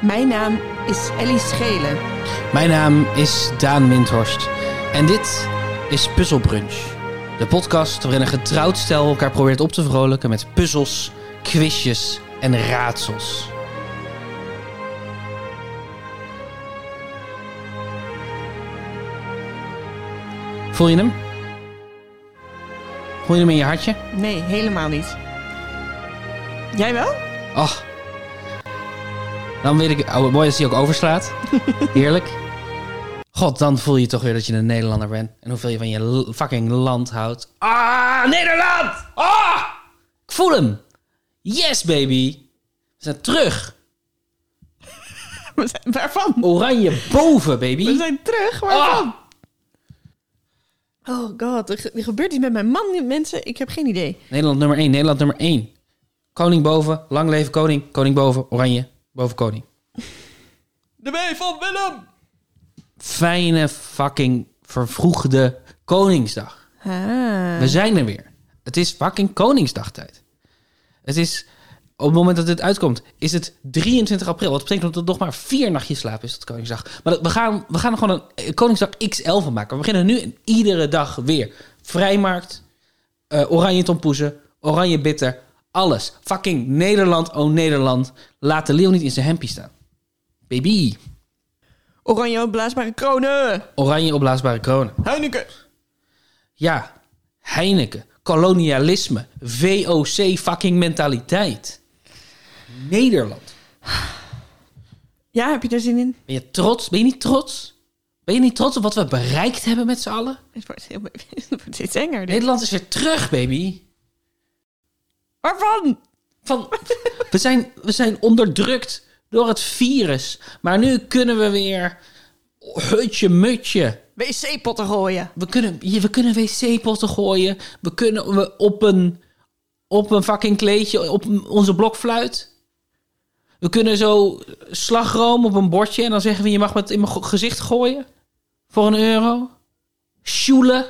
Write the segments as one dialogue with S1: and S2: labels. S1: Mijn naam is Ellie Schelen.
S2: Mijn naam is Daan Windhorst en dit is Puzzle Brunch. De podcast waarin een getrouwd stel elkaar probeert op te vrolijken met puzzels, quizjes en raadsels. Voel je hem? Voel je hem in je hartje?
S1: Nee, helemaal niet. Jij wel?
S2: Ach. Dan weet ik... Oh, mooi dat hij ook overslaat. Heerlijk. God, dan voel je toch weer dat je een Nederlander bent. En hoeveel je van je l- fucking land houdt. Ah, Nederland! Ah! Ik voel hem. Yes, baby. We zijn terug.
S1: We zijn, waarvan?
S2: Oranje boven,
S1: We
S2: baby.
S1: zijn terug, waarvan?
S2: Ah!
S1: Oh god, er, ge- er gebeurt iets met mijn man, mensen. Ik heb geen idee.
S2: Nederland nummer 1, Nederland nummer 1. Koning boven, lang leven koning. Koning boven, oranje boven koning.
S1: De B van Willem!
S2: Fijne fucking vervroegde Koningsdag. We
S1: Ah.
S2: zijn er weer. Het is fucking Koningsdagtijd. Het is, op het moment dat dit uitkomt, is het 23 april. Wat betekent dat er nog maar vier nachtjes slaap is tot Koningsdag. Maar dat- we gaan, we gaan er gewoon een eh, Koningsdag XL van maken. We beginnen nu en iedere dag weer. Vrijmarkt, eh, oranje tompoezen, oranje bitter, alles. Fucking Nederland, oh Nederland. Laat de leeuw niet in zijn hempie staan. Baby,
S1: Oranje opblaasbare kronen!
S2: oranje opblaasbare kronen.
S1: Heineken!
S2: Ja, Heineken, kolonialisme, VOC fucking mentaliteit. Nederland.
S1: Ja, heb je daar zin in?
S2: Ben je trots? Ben je niet trots? Ben je niet trots op wat we bereikt hebben met z'n allen?
S1: Het wordt, heel, het wordt steeds enger. dit.
S2: Nederland is weer terug, baby.
S1: Waarvan?
S2: Van, we, zijn, we zijn onderdrukt door het virus. Maar nu kunnen we weer hutje mutje.
S1: Wc-potten gooien.
S2: We kunnen, je- we kunnen wc-potten gooien. We kunnen we op, een, op een fucking kleedje, op een- onze blokfluit. We kunnen zo slagroom op een bordje en dan zeggen we: je mag het in mijn go- gezicht gooien. Voor een euro. Sjoelen.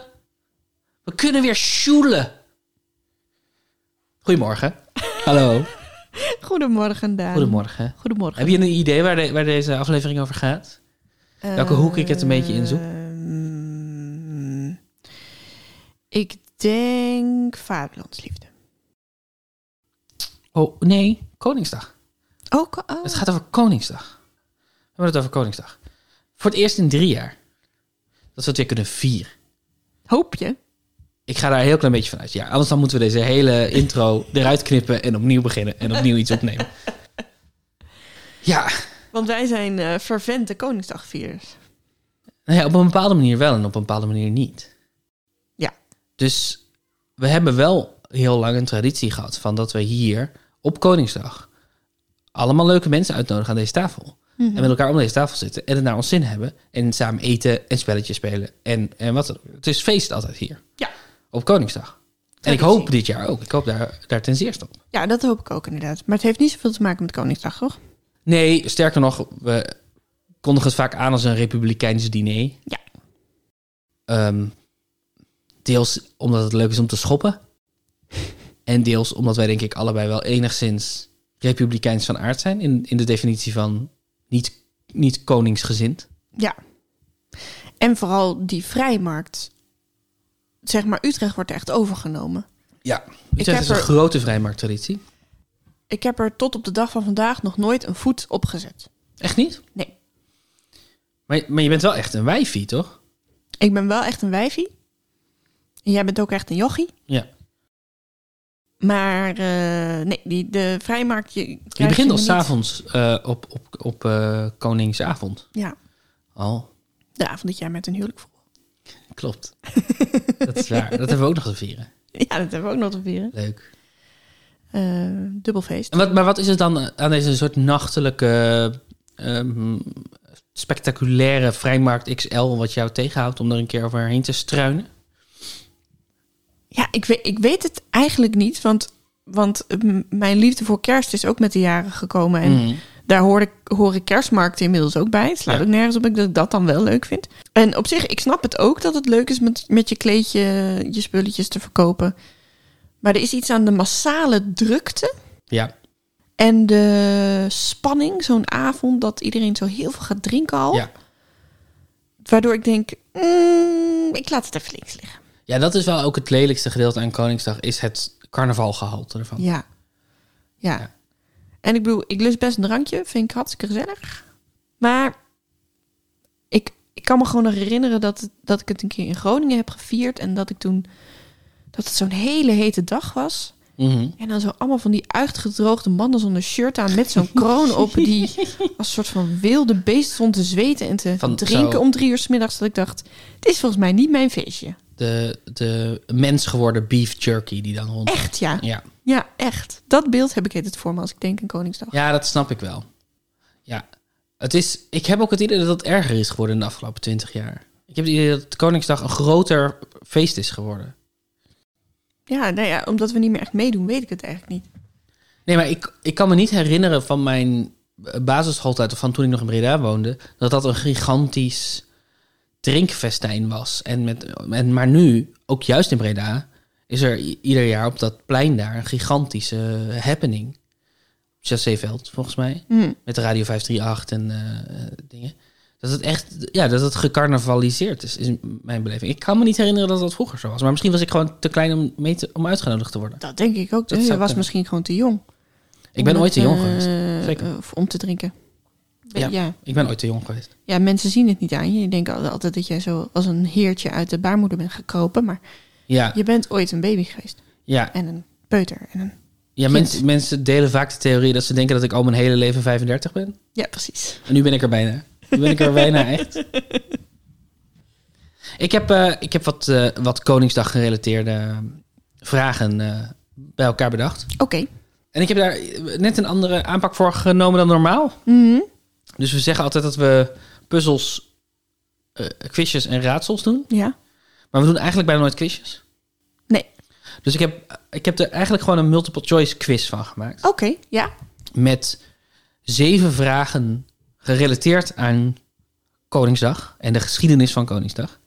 S2: We kunnen weer sjoelen. Goedemorgen. Hallo.
S1: Goedemorgen, Daan.
S2: Goedemorgen.
S1: Goedemorgen.
S2: Heb je een idee waar, de- waar deze aflevering over gaat? Welke
S1: Eh,
S2: hoek ik het een beetje inzoek?
S1: Ehm, ik denk vaderlandsliefde.
S2: Oh, nee. Koningsdag.
S1: Ook oh,
S2: Het gaat over Koningsdag. We hebben het over Koningsdag. Voor het eerst in drie jaar. Dat we het weer kunnen vieren.
S1: hoop je?
S2: Ik ga daar een heel klein beetje van uit. Ja, anders dan moeten we deze hele intro eruit knippen en opnieuw beginnen en opnieuw iets opnemen. Ja,
S1: Want wij zijn eh vervente Koningsdagvierders.
S2: nou ja, op een bepaalde manier wel en op een bepaalde manier niet.
S1: Ja.
S2: Dus we hebben wel heel lang een traditie gehad van dat we hier op Koningsdag allemaal leuke mensen uitnodigen aan deze tafel.
S1: Mhm.
S2: En met elkaar om deze tafel zitten en het naar ons zin hebben. En samen eten en spelletjes spelen. En, en wat dan ook. Het is feest altijd hier
S1: Ja.
S2: op Koningsdag. En ik
S1: Traditie.
S2: hoop dit jaar ook. Ik hoop daar, daar ten zeerste op.
S1: Ja, dat hoop ik ook inderdaad. Maar het heeft niet zoveel te maken met Koningsdag, toch?
S2: Nee, sterker nog, we kondigen het vaak aan als een republikeins diner.
S1: Ja.
S2: Ehm, deels omdat het leuk is om te schoppen. En deels omdat wij denk ik allebei wel enigszins republikeins van aard zijn. In, in de definitie van niet, niet koningsgezind.
S1: Ja. En vooral die vrijmarkt. Zeg maar, Utrecht wordt echt overgenomen.
S2: Ja,
S1: heb
S2: Utrecht is een
S1: er-
S2: grote vrijmarkttraditie.
S1: Ik heb er tot op de dag van vandaag nog nooit een voet op gezet.
S2: Echt niet?
S1: Nee.
S2: Maar, maar je bent wel echt een wijfie, toch?
S1: Ik ben wel echt een wijfie. En jij bent ook echt een jochie.
S2: Ja.
S1: Maar eh, nee, die, de vrijmarkt... Je, krijg
S2: Je begint
S1: me
S2: al
S1: niet.
S2: s'avonds eh op, op, op eh, Koningsavond.
S1: Ja,
S2: Al.
S1: de avond dat jij met een huwelijk voelde.
S2: Klopt. dat is waar. Dat hebben we ook nog te vieren.
S1: Ja, dat hebben we ook nog te vieren.
S2: Leuk.
S1: Eh, dubbelfeest.
S2: En wat, maar wat is het dan aan deze soort nachtelijke, ehm, spectaculaire vrijmarkt XL wat jou tegenhoudt om er een keer overheen te struinen?
S1: Ja, ik weet, ik weet het eigenlijk niet, want, want mm, mijn liefde voor kerst is ook met de jaren gekomen.
S2: Mm.
S1: En daar hoor ik, hoor ik kerstmarkten inmiddels ook bij. Het slaat
S2: Ja.
S1: ook nergens op dat ik dat dan wel leuk vind. En op zich, ik snap het ook dat het leuk is met, met je kleedje, je spulletjes te verkopen. Maar er is iets aan de massale drukte
S2: Ja.
S1: En de spanning, zo'n avond dat iedereen zo heel veel gaat drinken al.
S2: Ja.
S1: Waardoor ik denk, mm, ik laat het even links liggen.
S2: ja, dat is wel ook het lelijkste gedeelte aan Koningsdag, is het carnavalgehalte ervan.
S1: Ja. ja.
S2: Oh. Ja.
S1: En ik bedoel, ik lust best een drankje. Vind ik hartstikke gezellig. Maar ik, ik kan me gewoon nog herinneren dat, dat ik het een keer in Groningen heb gevierd. En dat ik toen, dat het zo'n hele hete dag was.
S2: Mhm.
S1: En dan zo allemaal van die uitgedroogde mannen zonder shirt aan met zo'n kroon op. Die als een soort van wilde beest stond te zweten en te
S2: Van
S1: drinken
S2: zo-
S1: om drie uur 's middags. Dat ik dacht, dit is volgens mij niet mijn feestje.
S2: De, de mens geworden beef jerky die dan rond...
S1: Echt ja.
S2: Ja.
S1: Ja, echt. Dat beeld heb ik het voor me als ik denk aan Koningsdag.
S2: ja, dat snap ik wel. Ja. Het is, ik heb ook het idee dat het erger is geworden in de afgelopen twintig jaar. Ik heb het idee dat Koningsdag een groter feest is geworden.
S1: Ja, nou ja, omdat we niet meer echt meedoen, weet ik het eigenlijk niet.
S2: Nee, maar ik, ik kan me niet herinneren van mijn eh, basisschooltijd... of van toen ik nog in Breda woonde... dat dat een gigantisch drinkfestijn was. En, met, en maar nu, ook juist in Breda... is er i- ieder jaar op dat plein daar een gigantische eh, happening. Chasséveld, volgens mij. Met Radio 538 en eh, eh, dingen. Dat het echt, ja, dat het gecarnavaliseerd is, is mijn beleving. Ik kan me niet herinneren dat dat vroeger zo was. Maar misschien was ik gewoon te klein om, mee te, om uitgenodigd te worden.
S1: Dat denk ik ook.
S2: Dat
S1: je
S2: zou
S1: was
S2: kunnen.
S1: misschien gewoon te jong.
S2: Ik ben
S1: Om
S2: ooit te
S1: het,
S2: jong
S1: eh,
S2: geweest. Zeker.
S1: eh, om te drinken. Ja.
S2: Ja.
S1: Ja.
S2: Ik ben ooit te jong geweest.
S1: mensen zien het niet aan je. Die denken al- altijd dat jij zo als een heertje uit de baarmoeder bent gekropen. Maar
S2: Ja,
S1: je bent ooit een baby geweest.
S2: ja.
S1: En een peuter. En een...
S2: ja mensen, mensen delen vaak de theorie dat ze denken dat ik al mijn hele leven 35 ben.
S1: Ja, precies.
S2: En nu ben ik er bijna. Nu ben ik er bijna, echt. Ik heb, eh, ik heb wat, eh, wat Koningsdag-gerelateerde vragen eh, bij elkaar bedacht.
S1: Oké.
S2: En ik heb daar eh, net een andere aanpak voor genomen dan normaal.
S1: Mhm.
S2: Dus we zeggen altijd dat we puzzels, eh, quizjes en raadsels doen.
S1: Ja.
S2: Maar we doen eigenlijk bijna nooit quizjes.
S1: Nee.
S2: Dus ik heb, ik heb er eigenlijk gewoon een multiple choice quiz van gemaakt.
S1: Oké. Ja.
S2: Met zeven vragen gerelateerd aan Koningsdag en de geschiedenis van Koningsdag.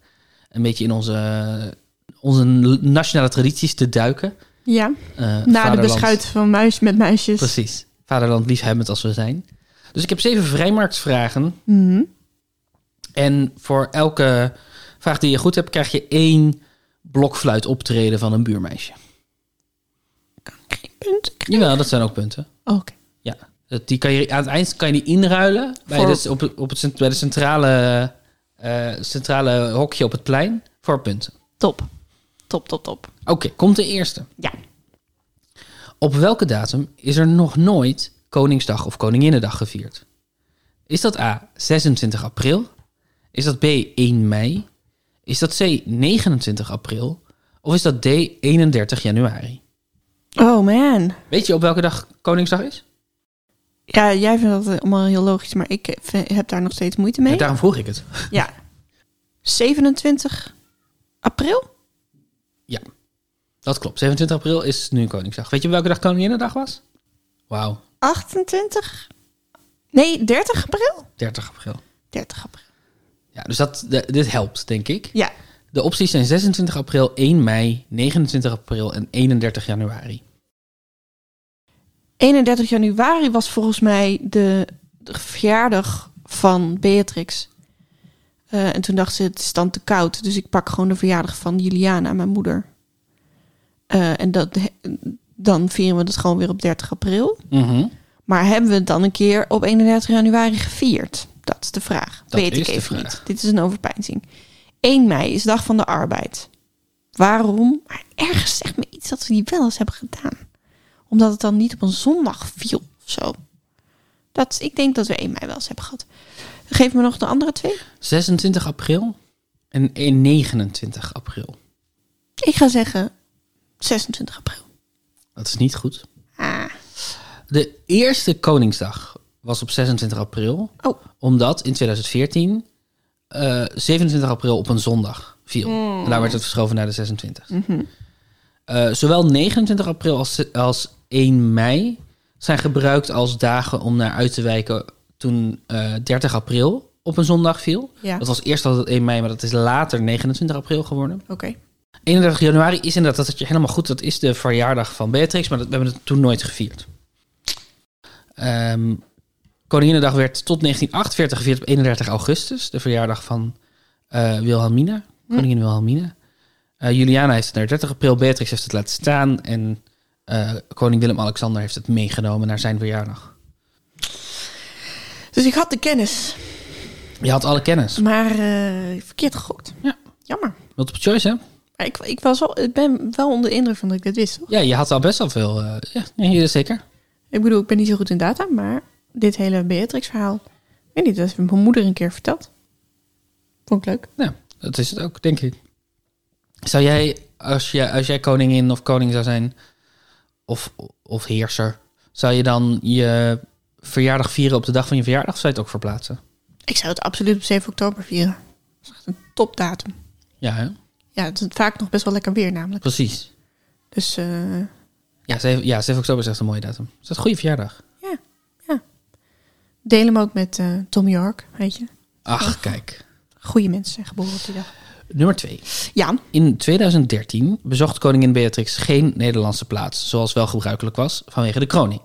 S2: Een beetje in onze, onze nationale tradities te duiken.
S1: Ja.
S2: Eh,
S1: Na de
S2: vaderland-
S1: beschuit van muis met muisjes.
S2: Precies. Vaderland liefhebbend als we zijn. Dus ik heb zeven vrijmarktvragen
S1: Mhm.
S2: En voor elke vraag die je goed hebt, krijg je één blokfluit optreden van een buurmeisje.
S1: Geen punt.
S2: Jawel, dat zijn ook punten.
S1: Oké.
S2: Ja. Dat- Die kan je, aan het eind kan je die inruilen bij,
S1: Voor-
S2: de, op, op het, cent- bij de centrale, eh, centrale hokje op het plein voor punten.
S1: Top. Top, top, top.
S2: Oké, komt de eerste.
S1: Ja.
S2: Op welke datum is er nog nooit Koningsdag of Koninginnedag gevierd? Is dat A 26 april? Is dat B 1 mei? Is dat C 29 april? Of is dat D 31 januari?
S1: Oh man.
S2: Weet je op welke dag Koningsdag is?
S1: Ja, jij vindt dat eh, allemaal heel logisch, maar ik eh, vind- heb daar nog steeds moeite mee.
S2: Ja, daarom vroeg ik het.
S1: Ja. 27 april?
S2: Ja, dat klopt. 27 april is nu Koningsdag. Weet je op welke dag Koninginnedag was? Wauw,
S1: 28? Nee, 30 april?
S2: 30 april.
S1: 30 april.
S2: Ja, dus dat, de- dit helpt, denk ik.
S1: Ja.
S2: De opties zijn 26 april, 1 mei, 29 april en 31 januari.
S1: 31 januari was volgens mij de, de verjaardag van Beatrix. Eh, en toen dacht ze, het is dan te koud. Dus ik pak gewoon de verjaardag van Juliana, mijn moeder. Eh, en dat, dan vieren we het gewoon weer op 30 april.
S2: Mhm.
S1: Maar hebben we het dan een keer op 31 januari gevierd? Dat is de vraag.
S2: Dat
S1: Weet
S2: is
S1: ik
S2: de
S1: even
S2: vraag.
S1: niet. Dit is een overpeinzing. 1 mei is dag van de arbeid. Waarom? Maar ergens zegt me iets dat we die wel eens hebben gedaan. Omdat het dan niet op een zondag viel of zo. Dat, ik denk dat we 1 mei wel eens hebben gehad. Geef me nog de andere twee.
S2: 26 april en 29 april.
S1: Ik ga zeggen 26 april.
S2: Dat is niet goed.
S1: Ah.
S2: De eerste Koningsdag was op 26 april,
S1: Oh,
S2: omdat in 2014 eh, 27 april op een zondag viel. En daar werd het verschoven naar de 26. Eh, zowel 29 april als, als 1 mei zijn gebruikt als dagen om naar uit te wijken toen eh, 30 april op een zondag viel.
S1: Ja.
S2: Dat was eerst altijd 1 mei, maar dat is later 29 april geworden.
S1: oké.
S2: 31 januari is inderdaad, dat had je helemaal goed, dat is de verjaardag van Beatrix, maar dat, we hebben het toen nooit gevierd. Ehm Koninginnedag werd tot 1948 gevierd op 31 augustus. De verjaardag van eh, Wilhelmina. Koningin Wilhelmina. Eh, Juliana heeft het naar 30 april. Beatrix heeft het laten staan. En eh, koning Willem-Alexander heeft het meegenomen naar zijn verjaardag.
S1: Dus ik had de kennis,
S2: Je had alle kennis.
S1: maar eh, verkeerd gegokt.
S2: Ja.
S1: Jammer.
S2: Multiple choice, hè?
S1: Maar ik, ik, was wel, ik ben wel onder de indruk van dat ik dit wist, toch?
S2: Ja, je had al best wel veel. eh, ja, ja, zeker.
S1: Ik bedoel, ik ben niet zo goed in data, maar dit hele Beatrix-verhaal... Ik weet niet, dat heeft mijn moeder een keer verteld. Vond ik leuk.
S2: Nou, dat is het ook, denk ik. Zou jij, als jij, als jij koningin of koning zou zijn, of, of heerser, zou je dan je verjaardag vieren op de dag van je verjaardag? Of zou je het ook verplaatsen?
S1: Ik zou het absoluut op 7 oktober vieren. Dat is echt een topdatum.
S2: Ja, hè?
S1: Ja, het is vaak nog best wel lekker weer namelijk.
S2: precies.
S1: Dus eh,
S2: Ja 7, ja, 7 oktober is echt een mooie datum. Is dat een goede verjaardag?
S1: deel hem ook met eh, Tom York, weet je.
S2: Ach, kijk.
S1: Goeie mensen zijn geboren op die dag.
S2: Nummer 2.
S1: Jan,
S2: In 2013 bezocht koningin Beatrix geen Nederlandse plaats, zoals wel gebruikelijk was, vanwege de kroning.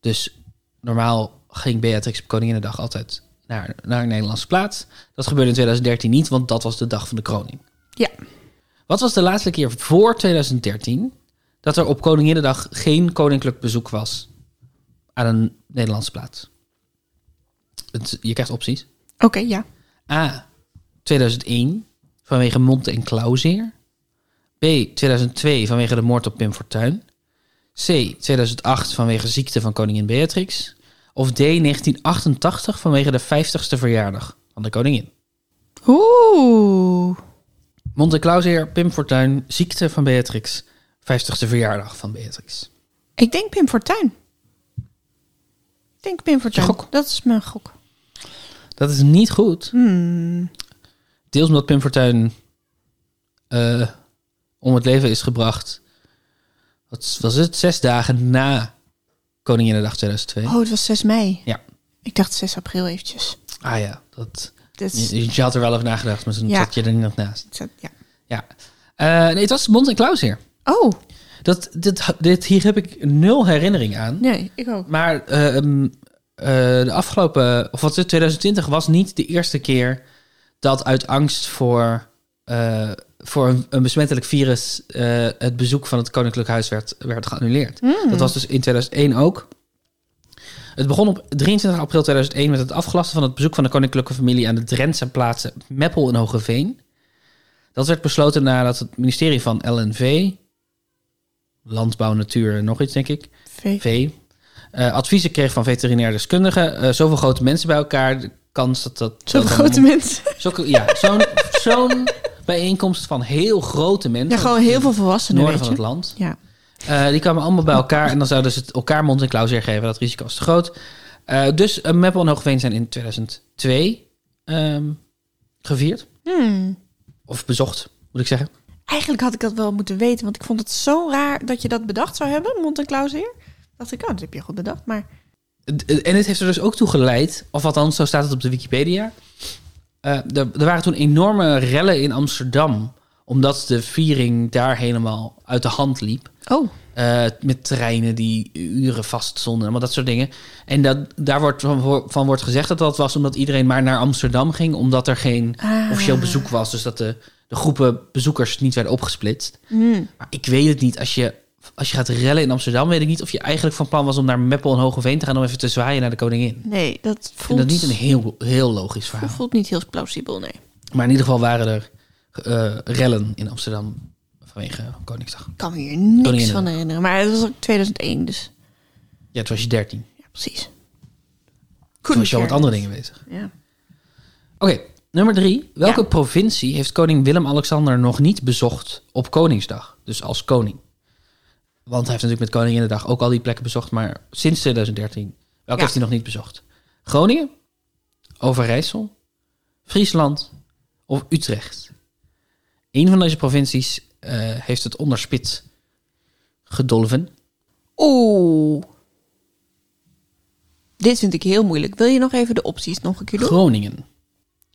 S2: Dus normaal ging Beatrix op Koninginnedag altijd naar, naar een Nederlandse plaats. Dat gebeurde in 2013 niet, want dat was de dag van de kroning.
S1: Ja.
S2: Wat was de laatste keer voor 2013 dat er op Koninginnedag geen koninklijk bezoek was aan een Nederlandse plaats? Het, je krijgt opties.
S1: oké, ja.
S2: A. 2001 vanwege mond- en klauwzeer. B. 2002 vanwege de moord op Pim Fortuyn. C. 2008 vanwege ziekte van koningin Beatrix. Of D. 1988 vanwege de 50ste verjaardag van de koningin.
S1: Oeh.
S2: Mond- en klauwzeer, Pim Fortuyn, ziekte van Beatrix, 50ste verjaardag van Beatrix.
S1: Ik denk Pim Fortuyn. Ik denk Pim Fortuyn.
S2: gok?
S1: Dat is mijn gok.
S2: Dat is niet goed.
S1: Hmm.
S2: Deels omdat Pim Fortuyn eh, om het leven is gebracht. Wat was het? Zes dagen na Koninginnedag 2002.
S1: Oh, het was 6 mei.
S2: Ja.
S1: Ik dacht 6 april eventjes.
S2: Ah ja, dat,
S1: Dat is-
S2: je, je had er wel over nagedacht, maar toen
S1: Ja.
S2: zat je er niet nog naast.
S1: dat- ja.
S2: Ja. Eh, nee, het was Mond en Klaus hier.
S1: Oh,
S2: Dat, dit, dit, hier heb ik nul herinnering aan.
S1: nee, ik ook.
S2: Maar eh, ehm, eh, de afgelopen, of wat is het, 2020 was niet de eerste keer dat uit angst voor, eh, voor een, een besmettelijk virus eh, het bezoek van het Koninklijk Huis werd, werd geannuleerd. Dat was dus in 2001 ook. Het begon op 23 april 2001 met het afgelasten van het bezoek van de koninklijke familie aan de Drentse plaatsen Meppel en Hogeveen. Dat werd besloten nadat het ministerie van LNV, Landbouw, Natuur en nog iets denk ik,
S1: V.
S2: V. Eh, adviezen kreeg van veterinair deskundigen. Eh, zoveel grote mensen bij elkaar. De kans dat dat...
S1: Zo'n
S2: dat
S1: grote
S2: dan-
S1: mensen.
S2: Zulke- ja, zo'n zo'n bijeenkomst van heel grote mensen.
S1: Ja, gewoon heel veel
S2: Het
S1: volwassenen,
S2: noorden
S1: weet
S2: van het
S1: je.
S2: land.
S1: Ja.
S2: Eh, die kwamen allemaal bij elkaar en dan zouden ze het elkaar mond- en klauwzeer geven. Dat risico is te groot. Eh, dus eh, Meppel en Hoogveen zijn in 2002 ehm, gevierd.
S1: Hmm.
S2: Of bezocht, moet ik zeggen.
S1: Eigenlijk had ik dat wel moeten weten, want ik vond het zo raar dat je dat bedacht zou hebben, Mont en Klauseer. Dacht ik, oh, dat heb je goed bedacht, maar
S2: D- En dit heeft er dus ook toe geleid, of althans, zo staat het op de Wikipedia. Eh, er, er waren toen enorme rellen in Amsterdam, omdat de viering daar helemaal uit de hand liep.
S1: oh,
S2: Eh, met treinen die uren vastzonden, allemaal dat soort dingen. En dat, daar wordt van, van wordt gezegd dat dat was omdat iedereen maar naar Amsterdam ging, omdat er geen
S1: Ah.
S2: officieel bezoek was. Dus dat de, de groepen bezoekers niet werden opgesplitst.
S1: Hmm.
S2: Maar ik weet het niet. Als je, als je gaat rellen in Amsterdam, weet ik niet of je eigenlijk van plan was om naar Meppel en Hogeveen te gaan om even te zwaaien naar de koningin.
S1: nee, dat
S2: Ik vind
S1: voelt,
S2: dat niet een heel, heel logisch verhaal.
S1: voelt niet heel plausibel, nee.
S2: Maar in ieder geval waren er eh, rellen in Amsterdam vanwege Koningsdag.
S1: Ik kan me hier niks
S2: Koningin.
S1: van herinneren, maar het was ook 2001, dus
S2: Ja, toen was je 13.
S1: ja, precies.
S2: Toen was je al met andere dingen bezig.
S1: Ja.
S2: Oké, nummer drie. Welke
S1: Ja.
S2: provincie heeft koning Willem-Alexander nog niet bezocht op Koningsdag? Dus als koning. Want hij heeft natuurlijk met Koninginnedag ook al die plekken bezocht, maar sinds 2013. Welke
S1: Ja.
S2: heeft hij nog niet bezocht? Groningen, Overijssel, Friesland of Utrecht? Eén van deze provincies eh, heeft het onderspit gedolven.
S1: Oeh. Dit vind ik heel moeilijk. Wil je nog even de opties nog een keer doen?
S2: Groningen,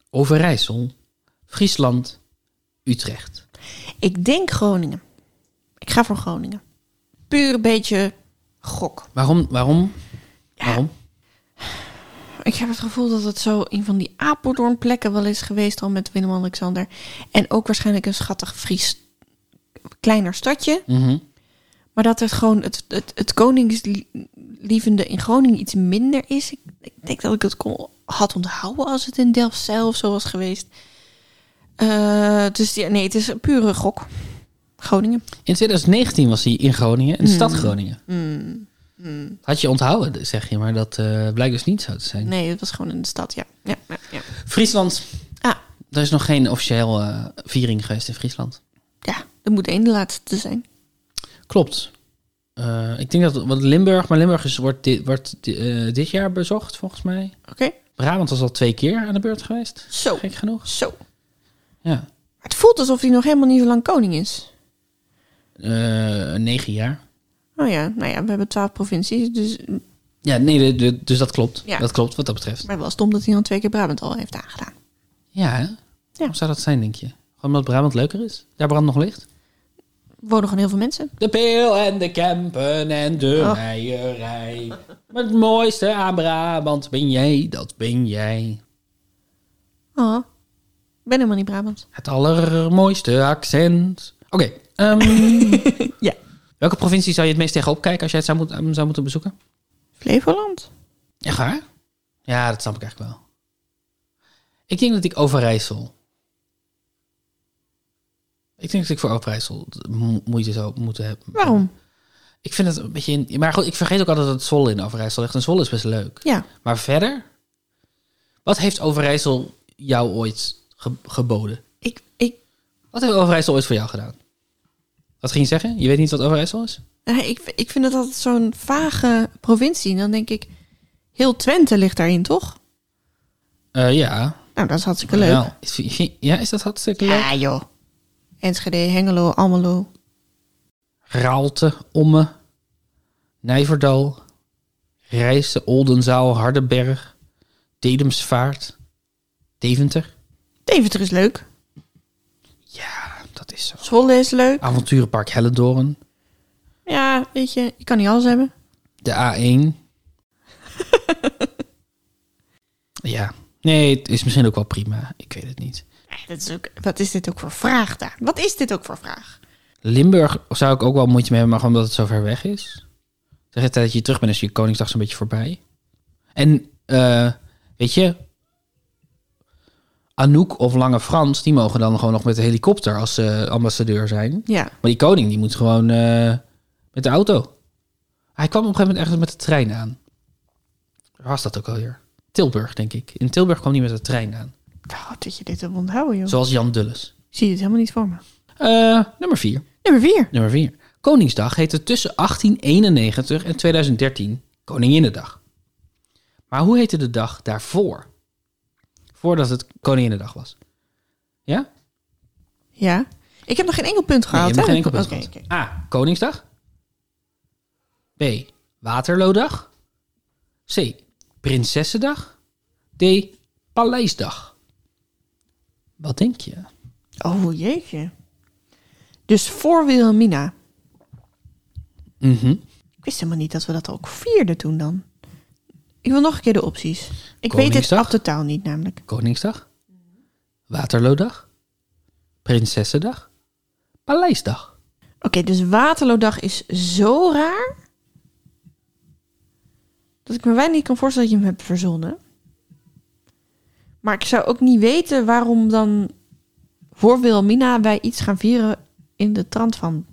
S2: Overijssel, Friesland, Utrecht.
S1: Ik denk Groningen. Ik ga voor Groningen. Puur een beetje Gok.
S2: Waarom? Waarom? Waarom?
S1: Ik heb het gevoel dat het zo een van die Apeldoorn plekken wel is geweest al met Willem-Alexander. En ook waarschijnlijk een schattig Fries kleiner stadje.
S2: Mhm.
S1: Maar dat het gewoon het, het, het koningslievende in Groningen iets minder is. Ik, ik denk dat ik het kon, had onthouden als het in Delft zelf zo was geweest. Eh, dus ja, nee, het is een pure gok. Groningen.
S2: In 2019 was hij in Groningen, in de
S1: Mm.
S2: stad Groningen. Had je onthouden, zeg je, maar dat eh, blijkt dus niet zo te zijn.
S1: Nee, het was gewoon in de stad, ja. ja, ja, ja.
S2: Friesland.
S1: Ah,
S2: Er is nog geen officieel eh, viering geweest in Friesland.
S1: ja, er moet één de laatste zijn.
S2: Klopt. Eh, ik denk dat want Limburg, maar Limburg is, wordt, dit, wordt di- eh, dit jaar bezocht, volgens mij.
S1: Oké?
S2: Brabant was al twee keer aan de beurt geweest.
S1: Zo.
S2: Gek genoeg.
S1: Zo.
S2: Ja.
S1: Het voelt alsof hij nog helemaal niet zo lang koning is.
S2: Eh, negen jaar.
S1: Oh ja, nou ja, we hebben twaalf provincies, dus
S2: Ja, nee, de- de- dus dat klopt.
S1: Ja.
S2: Dat klopt wat dat betreft.
S1: maar wel stom dat hij dan twee keer Brabant al heeft aangedaan.
S2: Ja, hè? Waarom zou dat zijn, denk je? Gewoon omdat Brabant leuker is? Daar brandt nog licht.
S1: Er wonen gewoon heel veel mensen.
S2: De peel en de kempen en de
S1: Oh.
S2: meierij. Maar het mooiste aan Brabant ben jij, dat ben jij.
S1: Oh, ik ben helemaal niet Brabant.
S2: Het allermooiste accent. Oké, ehm,
S1: Ja.
S2: welke provincie zou je het meest tegenop kijken als jij het zou, moet- hem zou moeten bezoeken?
S1: Flevoland?
S2: Echt waar? Ja, dat snap ik eigenlijk wel. Ik denk dat ik Overijssel. Ik denk dat ik voor Overijssel mo- moeite zou moeten hebben.
S1: Waarom?
S2: Ik vind het een beetje... in- maar goed, ik vergeet ook altijd dat het Zwolle in Overijssel ligt. En Zwolle is best leuk.
S1: Ja.
S2: Maar verder? Wat heeft Overijssel jou ooit ge- geboden?
S1: Ik, ik,
S2: Wat heeft Overijssel ooit voor jou gedaan? Wat ging je zeggen? Je weet niet wat Overijssel is?
S1: eh, ik, ik vind het altijd zo'n vage provincie. Dan denk ik, heel Twente ligt daarin, toch?
S2: Eh, ja.
S1: Nou, dat is hartstikke leuk.
S2: Nou, is, ja, is dat hartstikke leuk?
S1: Ja, joh. Enschede, Hengelo, Almelo.
S2: Raalte, Omme, Nijverdal, Rijssen, Oldenzaal, Hardenberg, Dedemsvaart, Deventer.
S1: Deventer is leuk.
S2: Ja, dat is zo.
S1: Zwolle is leuk.
S2: Avonturenpark Hellendoorn,
S1: Ja, weet je, je kan niet alles hebben.
S2: de A1. ja, nee, het is misschien ook wel prima. Ik weet het niet.
S1: Eh, Dat is ook, wat is dit ook voor vraag daar? Wat is dit ook voor vraag?
S2: Limburg zou ik ook wel moeite mee hebben, maar gewoon omdat het zo ver weg is. Zeg het tijd dat je terug bent, is je Koningsdag zo'n beetje voorbij. En, eh, weet je, Anouk of Lange Frans, die mogen dan gewoon nog met de helikopter als ze ambassadeur zijn.
S1: Ja.
S2: Maar die koning, die moet gewoon eh, met de auto. Hij kwam op een gegeven moment ergens met de trein aan. Waar was dat ook alweer? Tilburg, denk ik. In Tilburg kwam hij met de trein aan.
S1: Wat dat je dit hebt onthouden, joh.
S2: Zoals Jan Dulles.
S1: Ik Zie je het helemaal niet voor me.
S2: Eh, nummer vier.
S1: Nummer 4.
S2: Nummer 4. Koningsdag heette tussen 1891 en 2013 Koninginnedag. Maar hoe heette de dag daarvoor? Voordat het Koninginnedag was. Ja?
S1: Ja. Ik heb nog geen enkel punt
S2: Nee, je
S1: gehaald.
S2: hebt
S1: hè?
S2: nog geen enkel punt
S1: Oké,
S2: gehad.
S1: oké.
S2: A. Ah, Koningsdag. B. Waterloodag. C. Prinsessendag. D. Paleisdag. Wat denk je?
S1: Oh jeetje. Dus voor Wilhelmina.
S2: Mhm.
S1: Ik wist helemaal niet dat we dat ook vierden toen dan. Ik wil nog een keer de opties. Ik weet het
S2: Koningsdag?
S1: af de taal niet namelijk.
S2: Koningsdag. Waterloodag. Prinsessendag. Paleisdag.
S1: Oké, dus Waterloodag is zo raar. Dat ik me weinig niet kan voorstellen dat je hem hebt verzonnen. Maar ik zou ook niet weten waarom dan voor Wilhelmina wij iets gaan vieren in de trant van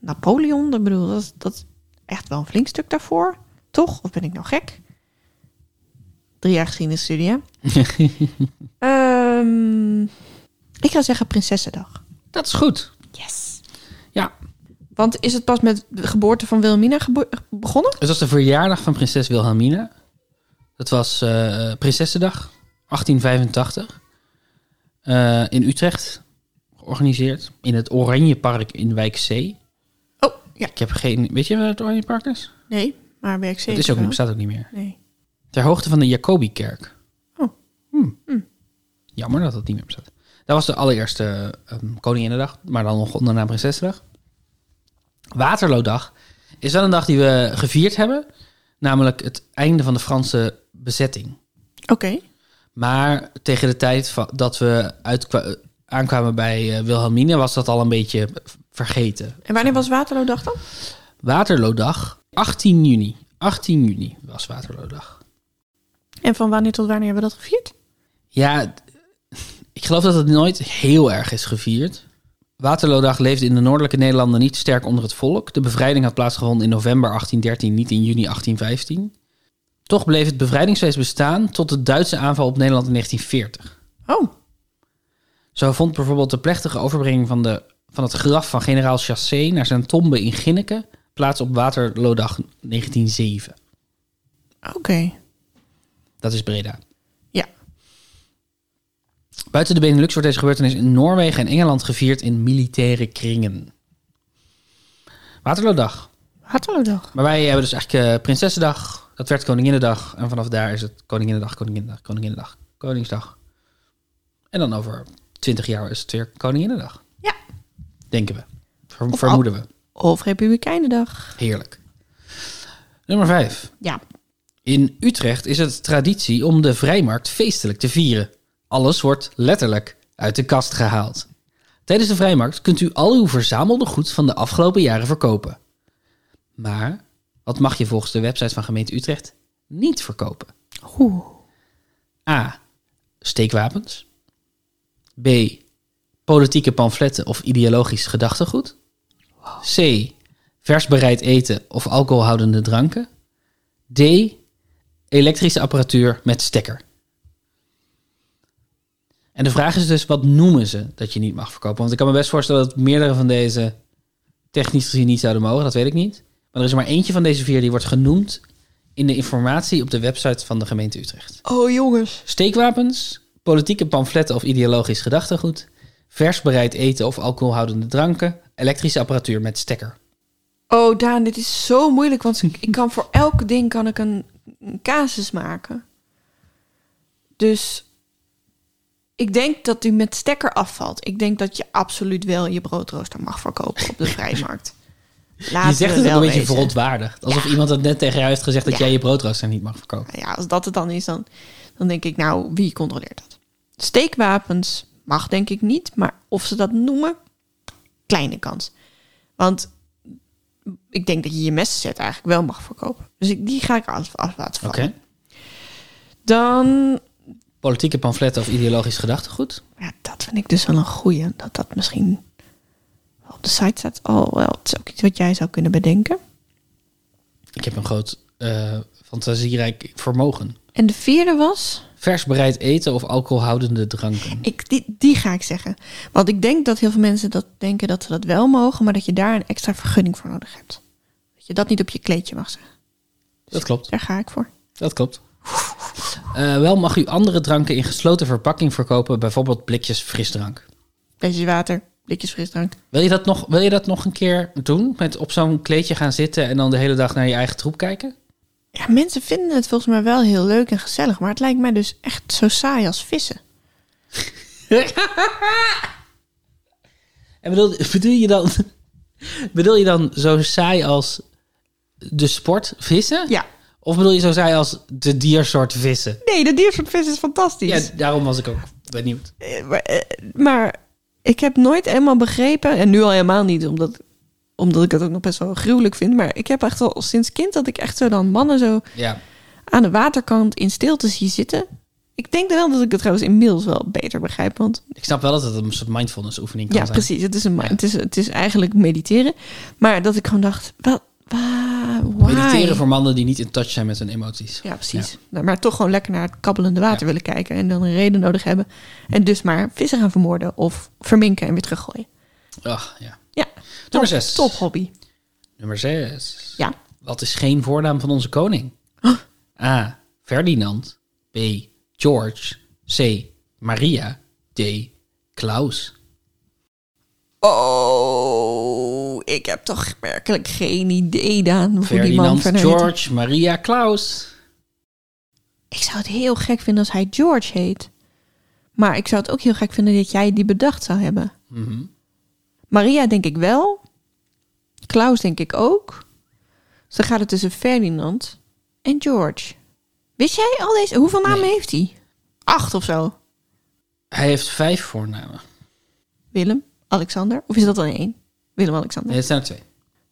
S1: Napoleon. Ik bedoel, dat, is- dat is echt wel een flink stuk daarvoor. Toch? Of ben ik nou gek? Drie jaar geschiedenisstudie, hè? Ehm, ik ga zeggen Prinsessendag.
S2: Dat is goed.
S1: Yes.
S2: Ja.
S1: Want is het pas met de geboorte van Wilhelmina gebo- begonnen?
S2: Het was de verjaardag van prinses Wilhelmina. Dat was eh, Prinsessendag, 1885. Eh, in Utrecht, georganiseerd. In het Oranjepark in Wijk C.
S1: Oh, ja.
S2: Ik heb geen... Weet je wat het Oranjepark is?
S1: Nee, maar werk
S2: Dat
S1: zeker.
S2: is ook,
S1: wel.
S2: niet- bestaat ook niet meer.
S1: Nee.
S2: Ter hoogte van de Jacobikerk.
S1: Oh.
S2: Hm. Jammer dat dat niet meer bestaat. Dat was de allereerste ehm Koninginnedag, maar dan nog onder de naam Prinsessendag. Waterloodag is wel een dag die we gevierd hebben. Namelijk het einde van de Franse bezetting.
S1: Oké.
S2: Maar tegen de tijd va- dat we uitkwa- aankwamen bij eh Wilhelmina was dat al een beetje vergeten.
S1: En wanneer was Waterloodag dan?
S2: Waterloodag, 18 juni. 18 juni was Waterloodag.
S1: En van wanneer tot wanneer hebben we dat gevierd?
S2: Ja, d- ik geloof dat het nooit heel erg is gevierd. Waterloodag leefde in de noordelijke Nederlanden niet sterk onder het volk. De bevrijding had plaatsgevonden in november 1813, niet in juni 1815. Toch bleef het bevrijdingsfeest bestaan tot de Duitse aanval op Nederland in 1940.
S1: Oh,
S2: Zo vond bijvoorbeeld de plechtige overbrenging van, de, van het graf van generaal Chassé naar zijn tombe in Ginneken plaats op Waterloodag 1907.
S1: oké.
S2: Dat is Breda.
S1: Ja.
S2: Buiten de Benelux wordt deze gebeurtenis in Noorwegen en Engeland gevierd in militaire kringen. Waterloodag.
S1: Waterloodag.
S2: Maar wij hebben dus eigenlijk eh, Prinsessendag. Dat werd Koninginnedag. En vanaf daar is het Koninginnedag, Koninginnedag, Koninginnedag, Koningsdag. En dan over twintig jaar is het weer Koninginnedag.
S1: Ja.
S2: Denken we. Ver-
S1: Of
S2: vermoeden we.
S1: Of Republikeinendag.
S2: Heerlijk. Nummer 5.
S1: Ja.
S2: In Utrecht is het traditie om de vrijmarkt feestelijk te vieren. Alles wordt letterlijk uit de kast gehaald. Tijdens de vrijmarkt kunt u al uw verzamelde goed van de afgelopen jaren verkopen. Maar wat mag je volgens de website van gemeente Utrecht niet verkopen?
S1: Oeh.
S2: A. Steekwapens. B. Politieke pamfletten of ideologisch gedachtegoed. C. Vers bereid eten of alcoholhoudende dranken. D. Elektrische apparatuur met stekker. En de vraag is dus, wat noemen ze dat je niet mag verkopen? Want ik kan me best voorstellen dat meerdere van deze technisch gezien niet zouden mogen. Dat weet ik niet. Maar er is er maar eentje van deze vier die wordt genoemd in de informatie op de website van de gemeente Utrecht.
S1: Oh, jongens.
S2: Steekwapens, politieke pamfletten of ideologisch gedachtegoed, vers bereid eten of alcoholhoudende dranken, elektrische apparatuur met stekker.
S1: Oh, Daan, dit is zo moeilijk. Want ik kan voor elk ding kan ik een, een casus maken. Dus ik denk dat die met stekker afvalt. Ik denk dat je absoluut wel je broodrooster mag verkopen op de vrijmarkt. Laten
S2: Je zegt
S1: we
S2: het
S1: Ah, wel
S2: een beetje
S1: wezen.
S2: verontwaardigd. Alsof iemand het net tegen jou heeft gezegd dat
S1: Ja.
S2: jij je broodrooster niet mag verkopen.
S1: Nou ja, als dat het dan is, dan, dan denk ik, nou, wie controleert dat? Steekwapens mag denk ik niet, maar of ze dat noemen, kleine kans. Want ik denk dat je je messenset eigenlijk wel mag verkopen. Dus ik, die ga ik af, af laten vallen.
S2: Oké.
S1: Dan,
S2: Politieke pamfletten of ideologisch gedachtegoed.
S1: ja, dat vind ik dus wel een goeie. Dat dat misschien op de site staat. Oh, wel, het is ook iets wat jij zou kunnen bedenken.
S2: Ik heb een groot eh, fantasierijk vermogen.
S1: En de vierde was...
S2: Vers bereid eten of alcoholhoudende dranken.
S1: Ik, die, die ga ik zeggen. Want ik denk dat heel veel mensen dat denken dat ze dat wel mogen, maar dat je daar een extra vergunning voor nodig hebt. Dat je dat niet op je kleedje mag zeggen.
S2: Dat klopt.
S1: Daar ga ik voor.
S2: Dat klopt. Eh, wel mag u andere dranken in gesloten verpakking verkopen, bijvoorbeeld blikjes frisdrank.
S1: Flesjes water, blikjes frisdrank.
S2: Wil je dat nog, wil je dat nog een keer doen? Met op zo'n kleedje gaan zitten en dan de hele dag naar je eigen troep kijken?
S1: Ja, mensen vinden het volgens mij wel heel leuk en gezellig, maar het lijkt mij dus echt zo saai als vissen.
S2: En bedoel, bedoel, je dan, bedoel je dan zo saai als de sport vissen?
S1: Ja.
S2: Of bedoel je zo saai als de diersoort vissen?
S1: Nee, dat diersoort vis is
S2: Ja,
S1: fantastisch.
S2: daarom was ik ook benieuwd.
S1: Eh, Maar, eh, maar ik heb nooit helemaal begrepen, en nu al helemaal niet, omdat, omdat ik het ook nog best wel gruwelijk vind, maar ik heb echt al sinds kind dat ik echt zo dan mannen zo
S2: Ja.
S1: aan de waterkant in stilte zie zitten. Ik denk wel dat ik het trouwens inmiddels wel beter begrijp. Want
S2: Ik snap wel dat het een soort mindfulness oefening kan
S1: ja,
S2: zijn.
S1: precies. Het is, een, ma- het, is, het is eigenlijk mediteren. Maar dat ik gewoon dacht, wat, wa- why?
S2: Mediteren voor mannen die niet in touch zijn met hun emoties.
S1: Ja, precies. Nou, maar toch gewoon lekker naar het kabbelende water willen kijken. En dan een reden nodig hebben. En dus maar vissen gaan vermoorden of verminken en weer teruggooien.
S2: Ach, ja.
S1: Ja,
S2: Nummer
S1: top,
S2: zes.
S1: top hobby.
S2: Nummer 6.
S1: Ja.
S2: Wat is geen voornaam van onze koning? A. Ferdinand. B. George. C. Maria. D. Klaus.
S1: Oh, ik heb toch werkelijk geen idee, Daan. Hoe die man
S2: Ferdinand,
S1: verder heet.
S2: George, Maria, Klaus.
S1: Ik zou het heel gek vinden als hij George heet. Maar ik zou het ook heel gek vinden dat jij die bedacht zou hebben.
S2: Mhm.
S1: Maria denk ik wel. Klaus denk ik ook. Dus dan gaat het tussen Ferdinand en George. Wist jij al deze? Hoeveel namen
S2: Nee.
S1: heeft hij? Acht of zo.
S2: Hij heeft vijf voornamen.
S1: Willem, Alexander. Of is dat dan één? Willem-Alexander.
S2: Nee, het zijn er twee.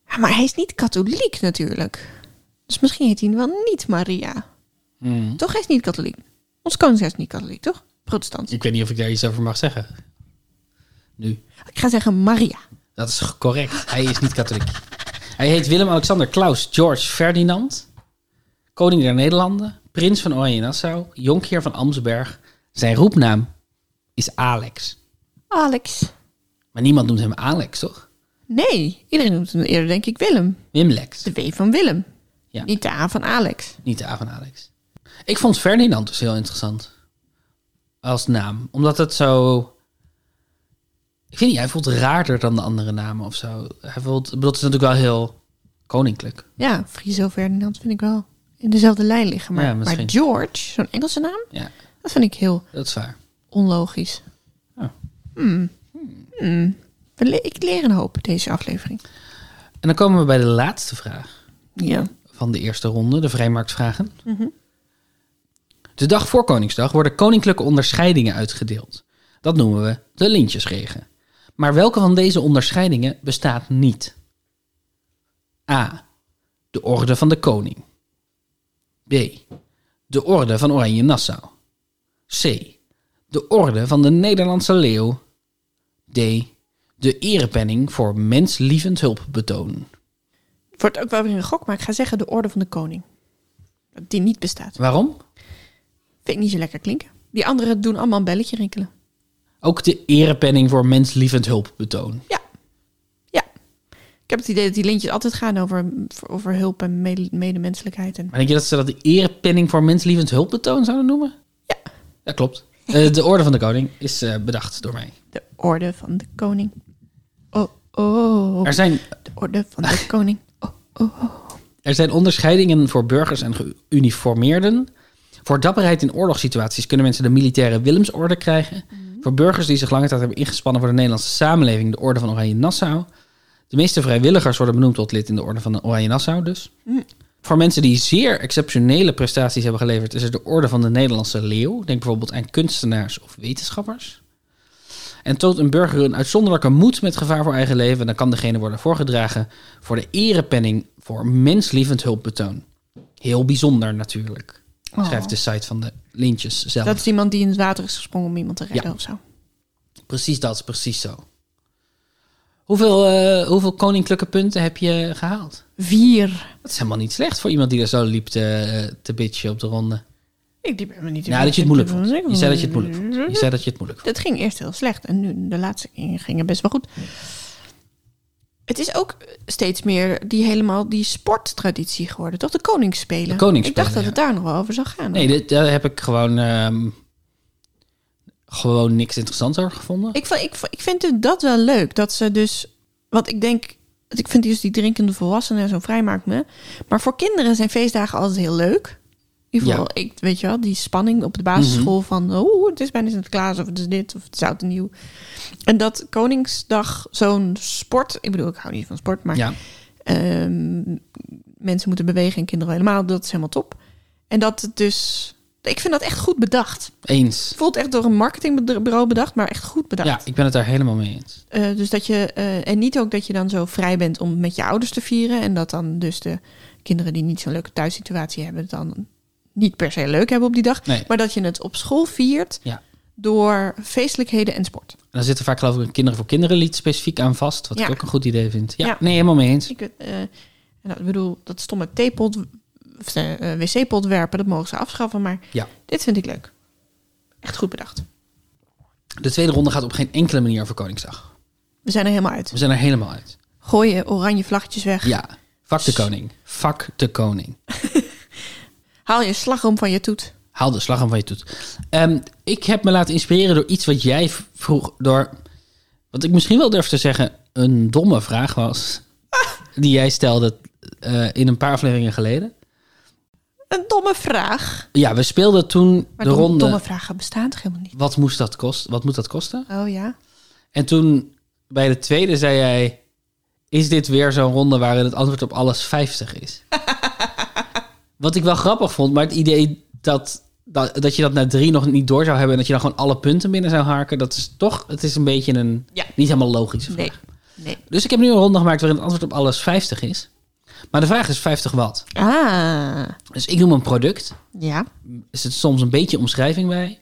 S1: Ja, maar hij is niet katholiek natuurlijk. Dus misschien heet hij wel niet Maria.
S2: Hmm.
S1: Toch, hij is niet katholiek. Ons koningshuis is niet katholiek, toch? Protestant.
S2: Ik weet niet of ik daar iets over mag zeggen. Nu.
S1: Ik ga zeggen Maria.
S2: Dat is correct. Hij is niet katholiek. Hij heet Willem-Alexander Klaus George Ferdinand. Koning der Nederlanden. Prins van Oranje-Nassau. Jonkheer van Amsberg. Zijn roepnaam is Alex.
S1: Alex.
S2: Maar niemand noemt hem Alex, toch?
S1: Nee, iedereen noemt hem eerder denk ik Willem.
S2: Wimlex.
S1: De W van Willem.
S2: Ja.
S1: Niet de A van Alex.
S2: Niet de A van Alex. Ik vond Ferdinand dus heel interessant. Als naam. Omdat het zo... Ik vind niet, hij voelt raarder dan de andere namen of zo. Hij voelt... ik bedoel, Het is natuurlijk wel heel koninklijk.
S1: Ja, Friso Ferdinand vind ik wel in dezelfde lijn liggen. Maar,
S2: Ja,
S1: maar
S2: misschien.
S1: George, zo'n Engelse naam,
S2: Ja,
S1: dat vind ik heel
S2: dat is waar.
S1: onlogisch.
S2: Ja.
S1: Hmm. Hmm. We le- Ik leer een hoop deze aflevering.
S2: En dan komen we bij de laatste vraag
S1: Ja.
S2: van de eerste ronde, de vrijmarktvragen. De dag voor Koningsdag worden koninklijke onderscheidingen uitgedeeld. Dat noemen we de lintjesregen. Maar welke van deze onderscheidingen bestaat niet? A. De Orde van de Koning. B. De Orde van Oranje-Nassau. C. De Orde van de Nederlandse Leeuw. D. De Erepenning voor menslievend hulpbetoon.
S1: Het wordt ook wel weer een gok, maar ik ga zeggen de Orde van de Koning. Die niet bestaat.
S2: Waarom?
S1: Vind ik niet zo lekker klinken. Die anderen doen allemaal een belletje rinkelen.
S2: Ook de erepenning voor menslievend hulpbetoon.
S1: Ja. Ja. Ik heb het idee dat die lintjes altijd gaan over, over hulp en mede- medemenselijkheid. En...
S2: Maar denk je dat ze dat de erepenning voor menslievend hulpbetoon zouden noemen?
S1: Ja.
S2: Dat klopt. Eh, de Orde van de Koning is eh, bedacht door mij.
S1: De Orde van de Koning. Oh, oh.
S2: Er zijn,
S1: De Orde van de Koning. Oh, oh, oh.
S2: er zijn onderscheidingen voor burgers en geuniformeerden. Voor dapperheid in oorlogssituaties kunnen mensen de militaire Willemsorde krijgen. Voor burgers die zich lange tijd hebben ingespannen voor de Nederlandse samenleving, de Orde van Oranje-Nassau. De meeste vrijwilligers worden benoemd tot lid in de Orde van Oranje-Nassau dus.
S1: Mm.
S2: Voor mensen die zeer exceptionele prestaties hebben geleverd, is er de Orde van de Nederlandse Leeuw. Denk bijvoorbeeld aan kunstenaars of wetenschappers. En toont een burger een uitzonderlijke moed met gevaar voor eigen leven, dan kan degene worden voorgedragen voor de erepenning voor menslievend hulpbetoon. Heel bijzonder natuurlijk,
S1: Oh.
S2: schrijft de site van de Lintjes zelf.
S1: Dat is iemand die in het water is gesprongen om iemand te redden
S2: Ja.
S1: of zo.
S2: Precies dat, precies zo. Hoeveel, eh, hoeveel koninklijke punten heb je gehaald?
S1: Vier.
S2: Dat is helemaal niet slecht voor iemand die er zo liep te, eh, te bitchen op de ronde.
S1: Ik die ben me niet.
S2: Ja, dat je het moeilijk vond. Je zei dat je het moeilijk vond. Je zei dat je het moeilijk vond.
S1: Dat ging eerst heel slecht en nu de laatste keer gingen best wel goed. Het is ook steeds meer die helemaal die sporttraditie geworden, toch? De koningsspelen.
S2: De koningsspelen,
S1: Ik dacht dat
S2: ja.
S1: het daar nog wel over zou gaan.
S2: Nee, dit- daar heb ik gewoon, ehm, gewoon niks interessants over gevonden.
S1: Ik, vond- ik, vond- ik vind het dat wel leuk. Dat ze dus. Want ik denk. Ik vind dus die drinkende volwassenen zo'n vrijmarkt me. Maar voor kinderen zijn feestdagen altijd heel leuk. In ieder geval, ik, weet je wel, die spanning op de basisschool
S2: Mhm.
S1: van... oeh, het is bijna Sinterklaas of het is dit of het is oud en nieuw. En dat Koningsdag zo'n sport... Ik bedoel, ik hou niet van sport, maar...
S2: ja.
S1: ehm, mensen moeten bewegen en kinderen helemaal. Dat is helemaal top. En dat het dus... Ik vind dat echt goed bedacht.
S2: Eens.
S1: Het voelt echt door een marketingbureau bedacht, maar echt goed bedacht.
S2: Ja, ik ben het daar helemaal mee eens.
S1: Eh, dus dat je, eh, en niet ook dat je dan zo vrij bent om met je ouders te vieren. En dat dan dus de kinderen die niet zo'n leuke thuissituatie hebben, het dan niet per se leuk hebben op die dag.
S2: Nee.
S1: Maar dat je het op school viert
S2: Ja.
S1: door feestelijkheden en sport.
S2: En daar zit er vaak geloof ik een kinderen voor kinderen lied specifiek aan vast. Wat
S1: Ja.
S2: ik ook een goed idee vind. Ja,
S1: Ja.
S2: nee, helemaal mee eens.
S1: Ik, weet, eh, nou, ik bedoel, dat stomme theepot, of, eh, eh, wc-pot werpen, dat mogen ze afschaffen. Maar
S2: Ja.
S1: dit vind ik leuk. Echt goed bedacht.
S2: De tweede ronde gaat op geen enkele manier over Koningsdag.
S1: We zijn er helemaal uit.
S2: We zijn er helemaal uit.
S1: Gooi je oranje vlaggetjes weg.
S2: Ja, fuck de koning. Fuck de koning.
S1: Haal je slagroom van je toet.
S2: Haal de slag aan van je toet. Ehm, ik heb me laten inspireren door iets wat jij v- vroeg. Door wat ik misschien wel durf te zeggen een domme vraag was.
S1: Ah.
S2: Die jij stelde eh, in een paar afleveringen geleden.
S1: Een domme vraag.
S2: Ja, we speelden toen
S1: Maar
S2: de
S1: dom-
S2: ronde.
S1: domme vragen bestaan toch helemaal niet?
S2: Wat, moest dat kosten? wat moet dat kosten?
S1: Oh ja.
S2: En toen bij de tweede zei jij... is dit weer zo'n ronde waarin het antwoord op alles 50 is. Wat ik wel grappig vond, maar het idee dat, dat, dat je dat na drie nog niet door zou hebben... en dat je dan gewoon alle punten binnen zou haken... dat is toch, het is een beetje een
S1: Ja.
S2: niet helemaal logische vraag.
S1: Nee. nee.
S2: Dus ik heb nu een ronde gemaakt waarin het antwoord op alles 50 is. Maar de vraag is 50 wat.
S1: Ah,
S2: Dus ik noem een product.
S1: ja.
S2: Is het soms een beetje omschrijving bij.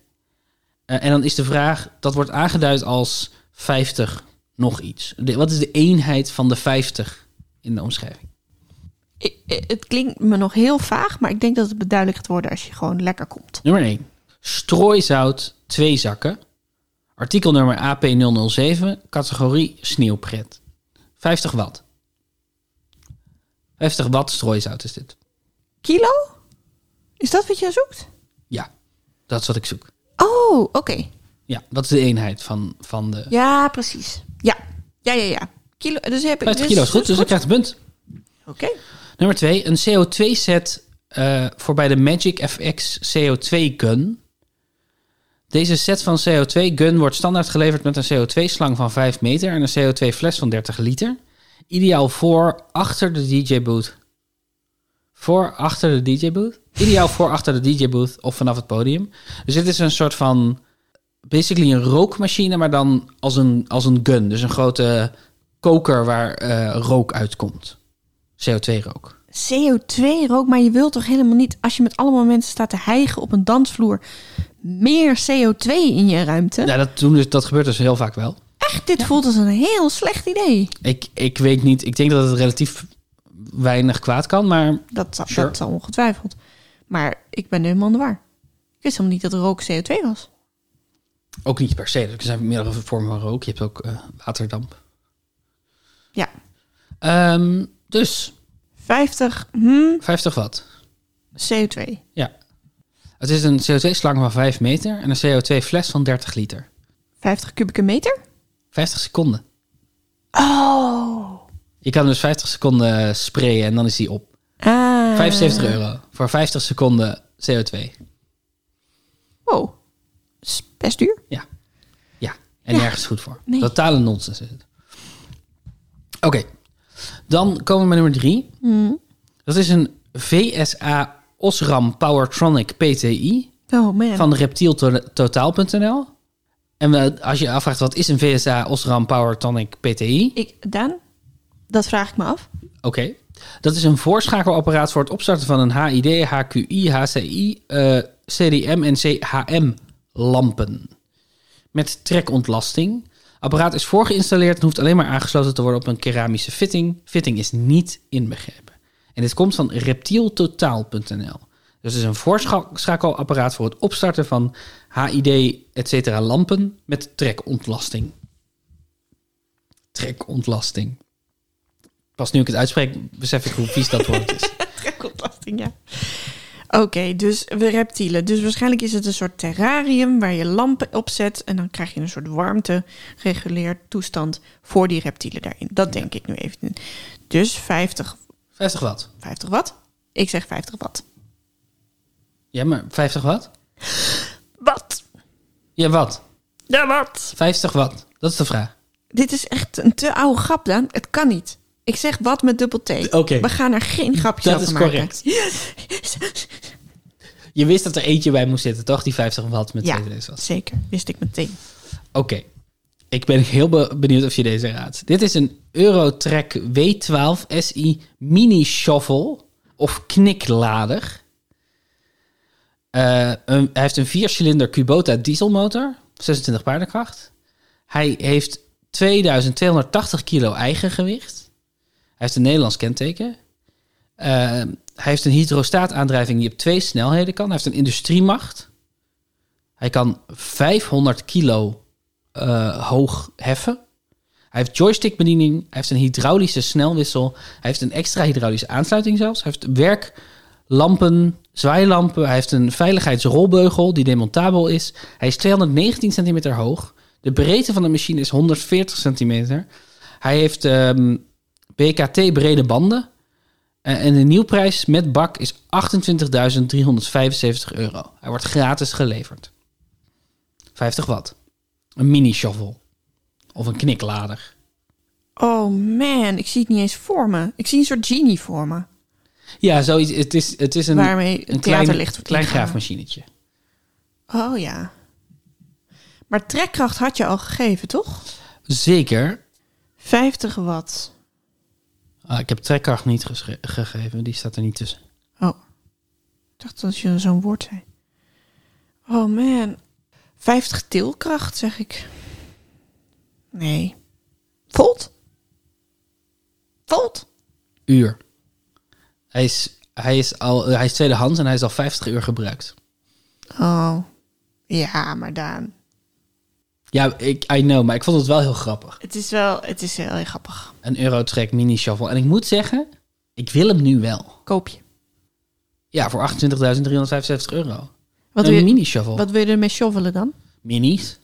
S2: Eh, en dan is de vraag, dat wordt aangeduid als 50 nog iets. De- wat is de eenheid van de 50 in de omschrijving?
S1: I- i- het klinkt me nog heel vaag, maar ik denk dat het beduidelijk gaat worden als je gewoon lekker komt.
S2: Nummer 1. Strooizout, twee zakken. Artikelnummer AP007, categorie sneeuwpret. 50 watt. 50 watt strooizout is dit.
S1: Kilo? Is dat wat jij zoekt?
S2: Ja, dat is wat ik zoek.
S1: Oh, oké.
S2: Ja, dat is de eenheid van, van de...
S1: Ja, precies. Ja, ja, ja, ja. Kilo, dus heb ik
S2: 50
S1: dus-
S2: kilo is goed, dus ik krijg het punt.
S1: Oké.
S2: Nummer 2, een CO2-set eh, voor bij de Magic FX CO2-gun. Deze set van CO2-gun wordt standaard geleverd met een CO2-slang van 5 meter en een CO2-fles van 30 liter. Ideaal voor achter de DJ-booth. Voor achter de DJ-booth? Ideaal voor achter de DJ-booth of vanaf het podium. Dus dit is een soort van. Basically een rookmachine, maar dan als een, als een gun. Dus een grote koker waar eh, rook uitkomt. CO2-rook.
S1: CO2 rook, maar je wilt toch helemaal niet, als je met allemaal mensen staat te hijgen op een dansvloer, meer CO2 in je ruimte?
S2: Ja, dat, doen dus, dat gebeurt dus heel vaak wel.
S1: Echt, dit voelt als een heel slecht idee.
S2: Ik, ik weet niet, ik denk dat het relatief weinig kwaad kan, maar
S1: Dat, zal-
S2: Sure.
S1: dat zal ongetwijfeld. Maar ik ben helemaal in de war. Ik wist helemaal niet dat rook CO2 was.
S2: ook niet per se. Er zijn meerdere vormen van rook. Je hebt ook eh, waterdamp.
S1: Ja,
S2: Ehm, dus
S1: 50 hm,
S2: 50 watt.
S1: CO2.
S2: Ja. Het is een CO2-slang van 5 meter en een CO2-fles van 30 liter.
S1: 50 kubieke meter?
S2: 50 seconden.
S1: Oh.
S2: Je kan dus 50 seconden sprayen en dan is die op.
S1: Ah.
S2: 75 euro voor 50 seconden CO2.
S1: Wow. Is best duur.
S2: Ja. Ja. En nergens goed voor.
S1: Nee.
S2: Totale nonsens is het. Oké. Dan komen we bij nummer drie. Dat is een VSA Osram Powertronic PTI
S1: Oh man.
S2: van reptieltotaal.nl. En we- als je je afvraagt wat is een VSA Osram Powertronic PTI?
S1: Ik, Daan, dat vraag ik me af.
S2: Oké. Dat is een voorschakelapparaat voor het opstarten van een HID, HQI, HCI, eh, CDM en CHM lampen. Met trekontlasting. Apparaat is voorgeïnstalleerd en hoeft alleen maar aangesloten te worden op een keramische fitting. Fitting is niet inbegrepen. En dit komt van reptieltotaal.nl. Dus het is een voorschakelapparaat voor het opstarten van HID, et cetera, lampen met trekontlasting. Trekontlasting. Pas nu ik het uitspreek, besef ik hoe vies dat woord is.
S1: Trekontlasting, ja. Oké, dus we reptielen. Dus waarschijnlijk is het een soort terrarium waar je lampen op zet. En dan krijg je een soort warmte-reguleerd toestand voor die reptielen daarin. Dat denk ik nu even. Dus 50,
S2: 50 watt.
S1: 50 watt? Ik zeg 50 watt.
S2: Ja, maar 50 watt?
S1: Wat?
S2: Ja, wat?
S1: Ja, wat?
S2: 50 watt. Dat is de vraag.
S1: Dit is echt een te oude grap, Daan. Het kan niet. Ik zeg wat met dubbel T.
S2: Oké.
S1: We gaan er geen grapjes
S2: Dat
S1: over
S2: is
S1: maken.
S2: correct. Je wist dat er eentje bij moest zitten, toch? Die 50 watt met
S1: Ja,
S2: twee CD's was.
S1: zeker. Wist ik meteen.
S2: Oké. Ik ben heel be- benieuwd of je deze raadt. Dit is een Eurotrack W12 SI mini shovel of kniklader. Eh, een- hij heeft een viercilinder Kubota dieselmotor, 26 paardenkracht. Hij heeft 2280 kilo eigen gewicht. Hij heeft een Nederlands kenteken. Eh, hij heeft een hydrostaataandrijving die op twee snelheden kan. Hij heeft een industriemacht. Hij kan 500 kilo eh, hoog heffen. Hij heeft joystickbediening. Hij heeft een hydraulische snelwissel. Hij heeft een extra hydraulische aansluiting zelfs. Hij heeft werklampen, zwaailampen. Hij heeft een veiligheidsrolbeugel die demontabel is. Hij is 219 centimeter hoog. De breedte van de machine is 140 centimeter. Hij heeft ehm, BKT brede banden. Eh, En de nieuwprijs met bak is 28.375 euro. Hij wordt gratis geleverd. 50 watt. Een mini-shovel. Of een kniklader.
S1: Oh man, ik zie het niet eens voor me. Ik zie een soort genie voor me.
S2: Ja, zoiets. Het is, het is een,
S1: waarmee het
S2: een
S1: theater
S2: klein,
S1: ligt. wordt
S2: klein
S1: ingehaald.
S2: graafmachinetje.
S1: Oh ja. Maar trekkracht had je al gegeven, toch?
S2: Zeker.
S1: 50 watt.
S2: Ah, ik heb trekkracht niet gesche- gegeven, die staat er niet tussen.
S1: Oh. Ik dacht dat je zo'n woord zei. Oh man. 50 tilkracht, zeg ik. Nee. Volt? Volt?
S2: Uur. Hij is, hij is, al, hij is tweedehands en hij is al 50 uur gebruikt.
S1: Oh. Ja, maar Daan.
S2: Ja, ik, I know, maar ik vond het wel heel grappig.
S1: Het is wel, het is heel erg grappig.
S2: Een Eurotrack mini shuffle. En ik moet zeggen, ik wil hem nu wel.
S1: Koop je.
S2: Ja, voor 28.365 euro.
S1: Wat
S2: een
S1: wil, je
S2: mini shuffle.
S1: wat wil je ermee shovelen dan?
S2: Minis.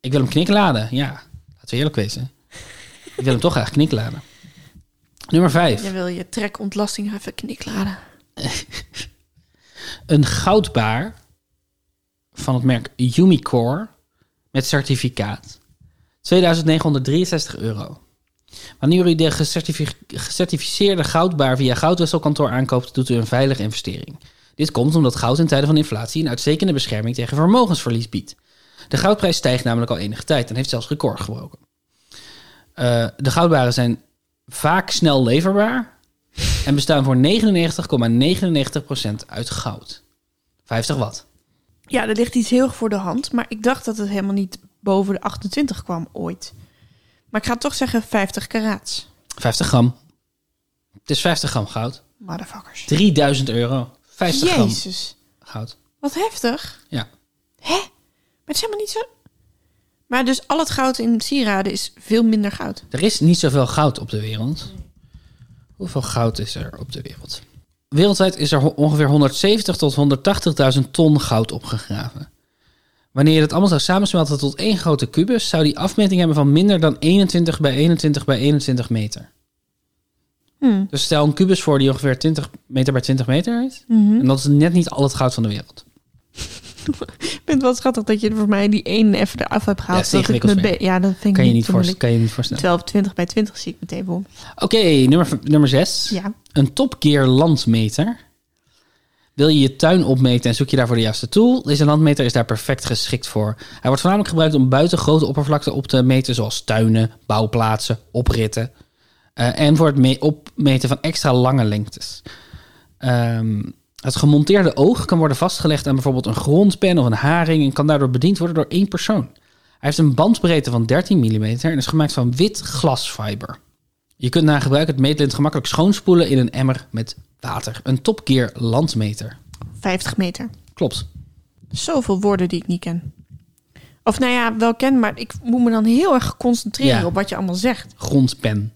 S2: Ik wil hem knikladen, ja. Laten we eerlijk wezen. ik wil hem toch graag knikladen. Nummer 5.
S1: Je wil je trekontlasting even knikladen.
S2: Een goudbaar van het merk Umicore met certificaat. 2963 euro. Wanneer u de gecertifi- gecertificeerde goudbaar via goudwisselkantoor aankoopt, doet u een veilige investering. Dit komt omdat goud in tijden van inflatie een uitstekende bescherming tegen vermogensverlies biedt. De goudprijs stijgt namelijk al enige tijd en heeft zelfs record gebroken. Eh, de goudbaren zijn vaak snel leverbaar, en bestaan voor 99,99% uit goud. 50 watt.
S1: Ja, er ligt iets heel erg voor de hand. Maar ik dacht dat het helemaal niet boven de 28 kwam ooit. Maar ik ga toch zeggen 50 karaats.
S2: 50 gram. Het is 50 gram goud.
S1: Motherfuckers.
S2: 3000 euro. 50 gram
S1: Jezus,
S2: goud.
S1: wat heftig.
S2: Ja.
S1: Hè? Maar het is helemaal niet zo... Maar dus al het goud in sieraden is veel minder goud.
S2: Er is niet zoveel goud op de wereld. Hoeveel goud is er op de wereld? Wereldwijd is er ho- ongeveer 170 tot 180.000 ton goud opgegraven. Wanneer je dat allemaal zou samensmelten tot één grote kubus, zou die afmeting hebben van minder dan 21 bij 21 bij 21 meter.
S1: Hmm.
S2: Dus stel een kubus voor die ongeveer 20 meter bij 20 meter is.
S1: Mhm.
S2: En dat is net niet al het goud van de wereld.
S1: Ik vind het wel schattig dat je er voor mij die één even eraf hebt
S2: Ja,
S1: gehaald.
S2: is
S1: zodat ik
S2: ingewikkeld
S1: me
S2: werk.
S1: be- ja, dat vind ik
S2: Kan je niet,
S1: zo
S2: voorst-
S1: moeilijk.
S2: kan je niet voorstellen.
S1: Terwijl op 20 bij 20 zie ik meteen bom.
S2: Oké, nummer, v- nummer 6.
S1: Ja.
S2: Een Top Gear landmeter. Wil je je tuin opmeten en zoek je daarvoor de juiste tool? Deze landmeter is daar perfect geschikt voor. Hij wordt voornamelijk gebruikt om buiten grote oppervlakten op te meten, zoals tuinen, bouwplaatsen, opritten. Eh, en voor het me- opmeten van extra lange lengtes. Ehm, het gemonteerde oog kan worden vastgelegd aan bijvoorbeeld een grondpen of een haring en kan daardoor bediend worden door één persoon. Hij heeft een bandbreedte van 13 mm en is gemaakt van wit glasfiber. Je kunt na gebruik het meetlint gemakkelijk schoonspoelen in een emmer met water. Een topkeer landmeter.
S1: 50 meter.
S2: Klopt.
S1: Zoveel woorden die ik niet ken. Of nou ja, wel ken, maar ik moet me dan heel erg concentreren
S2: Ja.
S1: op wat je allemaal zegt.
S2: Grondpen.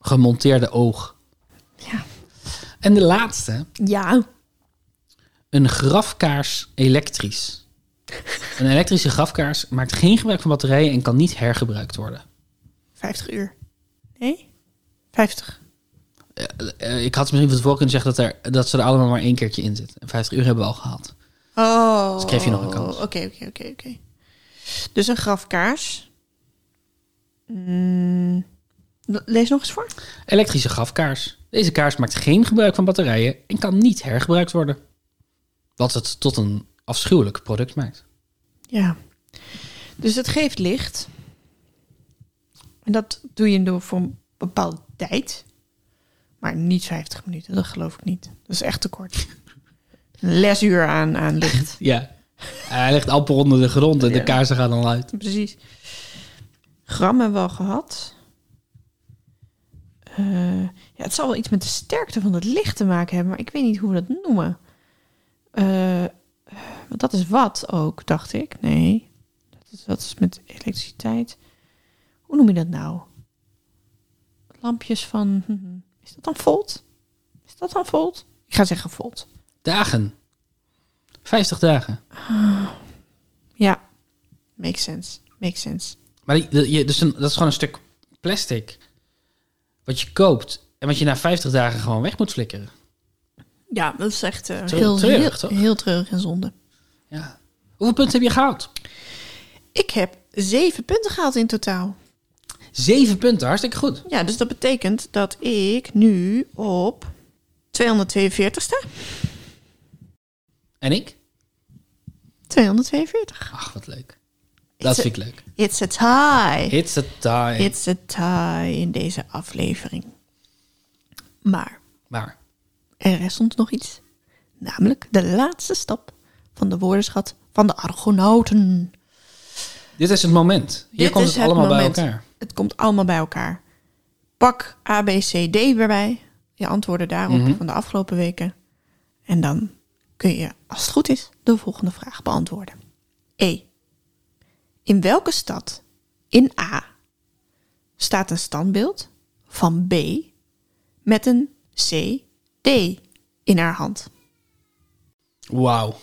S2: Gemonteerde oog.
S1: Ja.
S2: En de laatste.
S1: Ja.
S2: Een grafkaars elektrisch. Een elektrische grafkaars maakt geen gebruik van batterijen en kan niet hergebruikt worden.
S1: 50 uur. Nee? 50.
S2: Eh, ik had misschien van tevoren kunnen zeggen dat, er, dat ze er allemaal maar één keertjes in zitten. En 50 uur hebben we al gehad.
S1: Oh.
S2: Dus kreeg je nog een kans.
S1: Oké, oké, oké, oké. Dus een grafkaars. Mm. Lees nog eens voor.
S2: Elektrische grafkaars. Deze kaars maakt geen gebruik van batterijen en kan niet hergebruikt worden. Wat het tot een afschuwelijk product maakt.
S1: Ja. Dus het geeft licht. En dat doe je door voor een bepaalde tijd. Maar niet 50 minuten, dat geloof ik niet. Dat is echt te kort. Een lesuur aan, aan licht.
S2: Ja. Hij ligt amper onder de grond en de kaarsen gaan al uit.
S1: Precies. Gram hebben we al gehad. Eh, ja, het zal wel iets met de sterkte van het licht te maken hebben, maar ik weet niet hoe we dat noemen. Eh, want dat is wat ook, dacht ik. Nee, dat is, dat is met elektriciteit. Hoe noem je dat nou? Lampjes van. hm, hm. Is dat dan volt? Is dat dan volt? Ik ga zeggen volt.
S2: Dagen. 50 dagen.
S1: Ja, makes sense. Makes sense.
S2: Maar die, dat- je, dus een, dat is gewoon een stuk plastic. Wat je koopt en wat je na 50 dagen gewoon weg moet flikkeren.
S1: Ja, dat is echt eh,
S2: Treurig,
S1: heel,
S2: treurig,
S1: heel,
S2: toch?
S1: heel treurig en zonde.
S2: Ja. Hoeveel punten heb je gehaald?
S1: Ik heb zeven punten gehaald in totaal.
S2: Zeven punten, hartstikke goed.
S1: Ja, dus dat betekent dat ik nu op 242 sta.
S2: En ik?
S1: 242.
S2: Ach, wat leuk. Dat
S1: It's
S2: vind ik leuk.
S1: a- It's a tie.
S2: It's a time.
S1: It's a tie in deze aflevering. Maar
S2: Maar,
S1: er is ons nog iets. Namelijk de laatste stap van de woordenschat van de Argonauten.
S2: dit is het moment. Hier
S1: Dit
S2: komt
S1: is
S2: het allemaal
S1: moment.
S2: bij elkaar.
S1: Het komt allemaal bij elkaar. Pak A, B, C, D erbij. Je antwoorden daarop
S2: Mhm.
S1: van de afgelopen weken. En dan kun je, als het goed is, de volgende vraag beantwoorden. E. In welke stad in A staat een standbeeld van B met een C, D in haar hand?
S2: Wauw.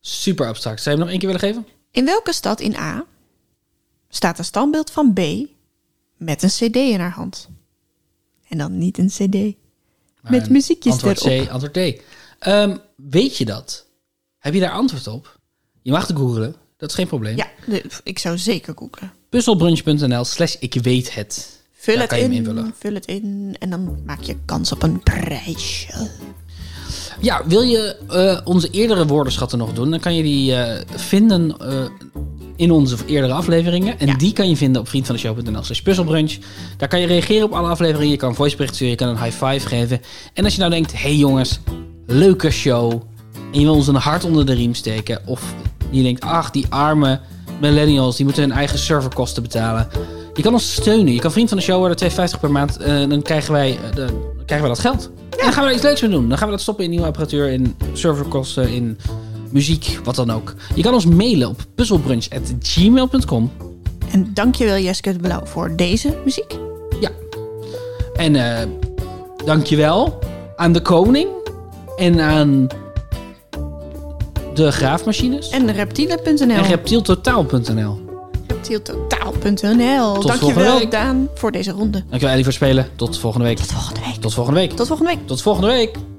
S2: Super abstract. Zou je hem nog één keer willen geven?
S1: In welke stad in A staat een standbeeld van B met een CD in haar hand? En dan niet een CD. Met
S2: En
S1: muziekjes
S2: antwoord
S1: erop.
S2: C, antwoord D. Ehm, weet je dat? Heb je daar antwoord op? Je mag het googlen. Dat is geen probleem.
S1: Ja, de- ik zou zeker googlen.
S2: Puzzelbrunch.nl slash ik weet het.
S1: Vul
S2: Daar
S1: het
S2: kan je
S1: in.
S2: hem invullen.
S1: Vul het in en dan maak je kans op een prijsje.
S2: Ja, wil je eh, onze eerdere woordenschatten nog doen? Dan kan je die eh, vinden eh, in onze eerdere afleveringen. En
S1: Ja.
S2: die kan je vinden op vriendvandeshow.nl slash puzzelbrunch. Daar kan je reageren op alle afleveringen. Je kan een voicebericht sturen, je kan een high five geven. En als je nou denkt, hé hey jongens, leuke show. En je wil ons een hart onder de riem steken. Of je denkt, ach die arme millennials, die moeten hun eigen serverkosten betalen. Je kan ons steunen. Je kan vriend van de show worden, 2,50 per maand. eh, dan, krijgen wij, eh, de- dan krijgen wij dat geld. En dan gaan we er iets leuks mee doen. Dan gaan we dat stoppen in nieuwe apparatuur, in serverkosten, in muziek, wat dan ook. Je kan ons mailen op puzzelbrunch.gmail.com.
S1: En dankjewel Jeske de Blauw voor deze muziek.
S2: Ja. En eh dankjewel aan de koning en aan de graafmachines en,
S1: En reptielen.nl.
S2: reptieltotaal.nl.
S1: Reptieltotaal.nl.
S2: volgende
S1: Dankjewel
S2: week.
S1: Daan voor deze ronde.
S2: Dankjewel Ellie voor het spelen. Tot volgende week.
S1: Tot volgende week.
S2: Tot volgende week.
S1: Tot volgende week.
S2: Tot volgende week.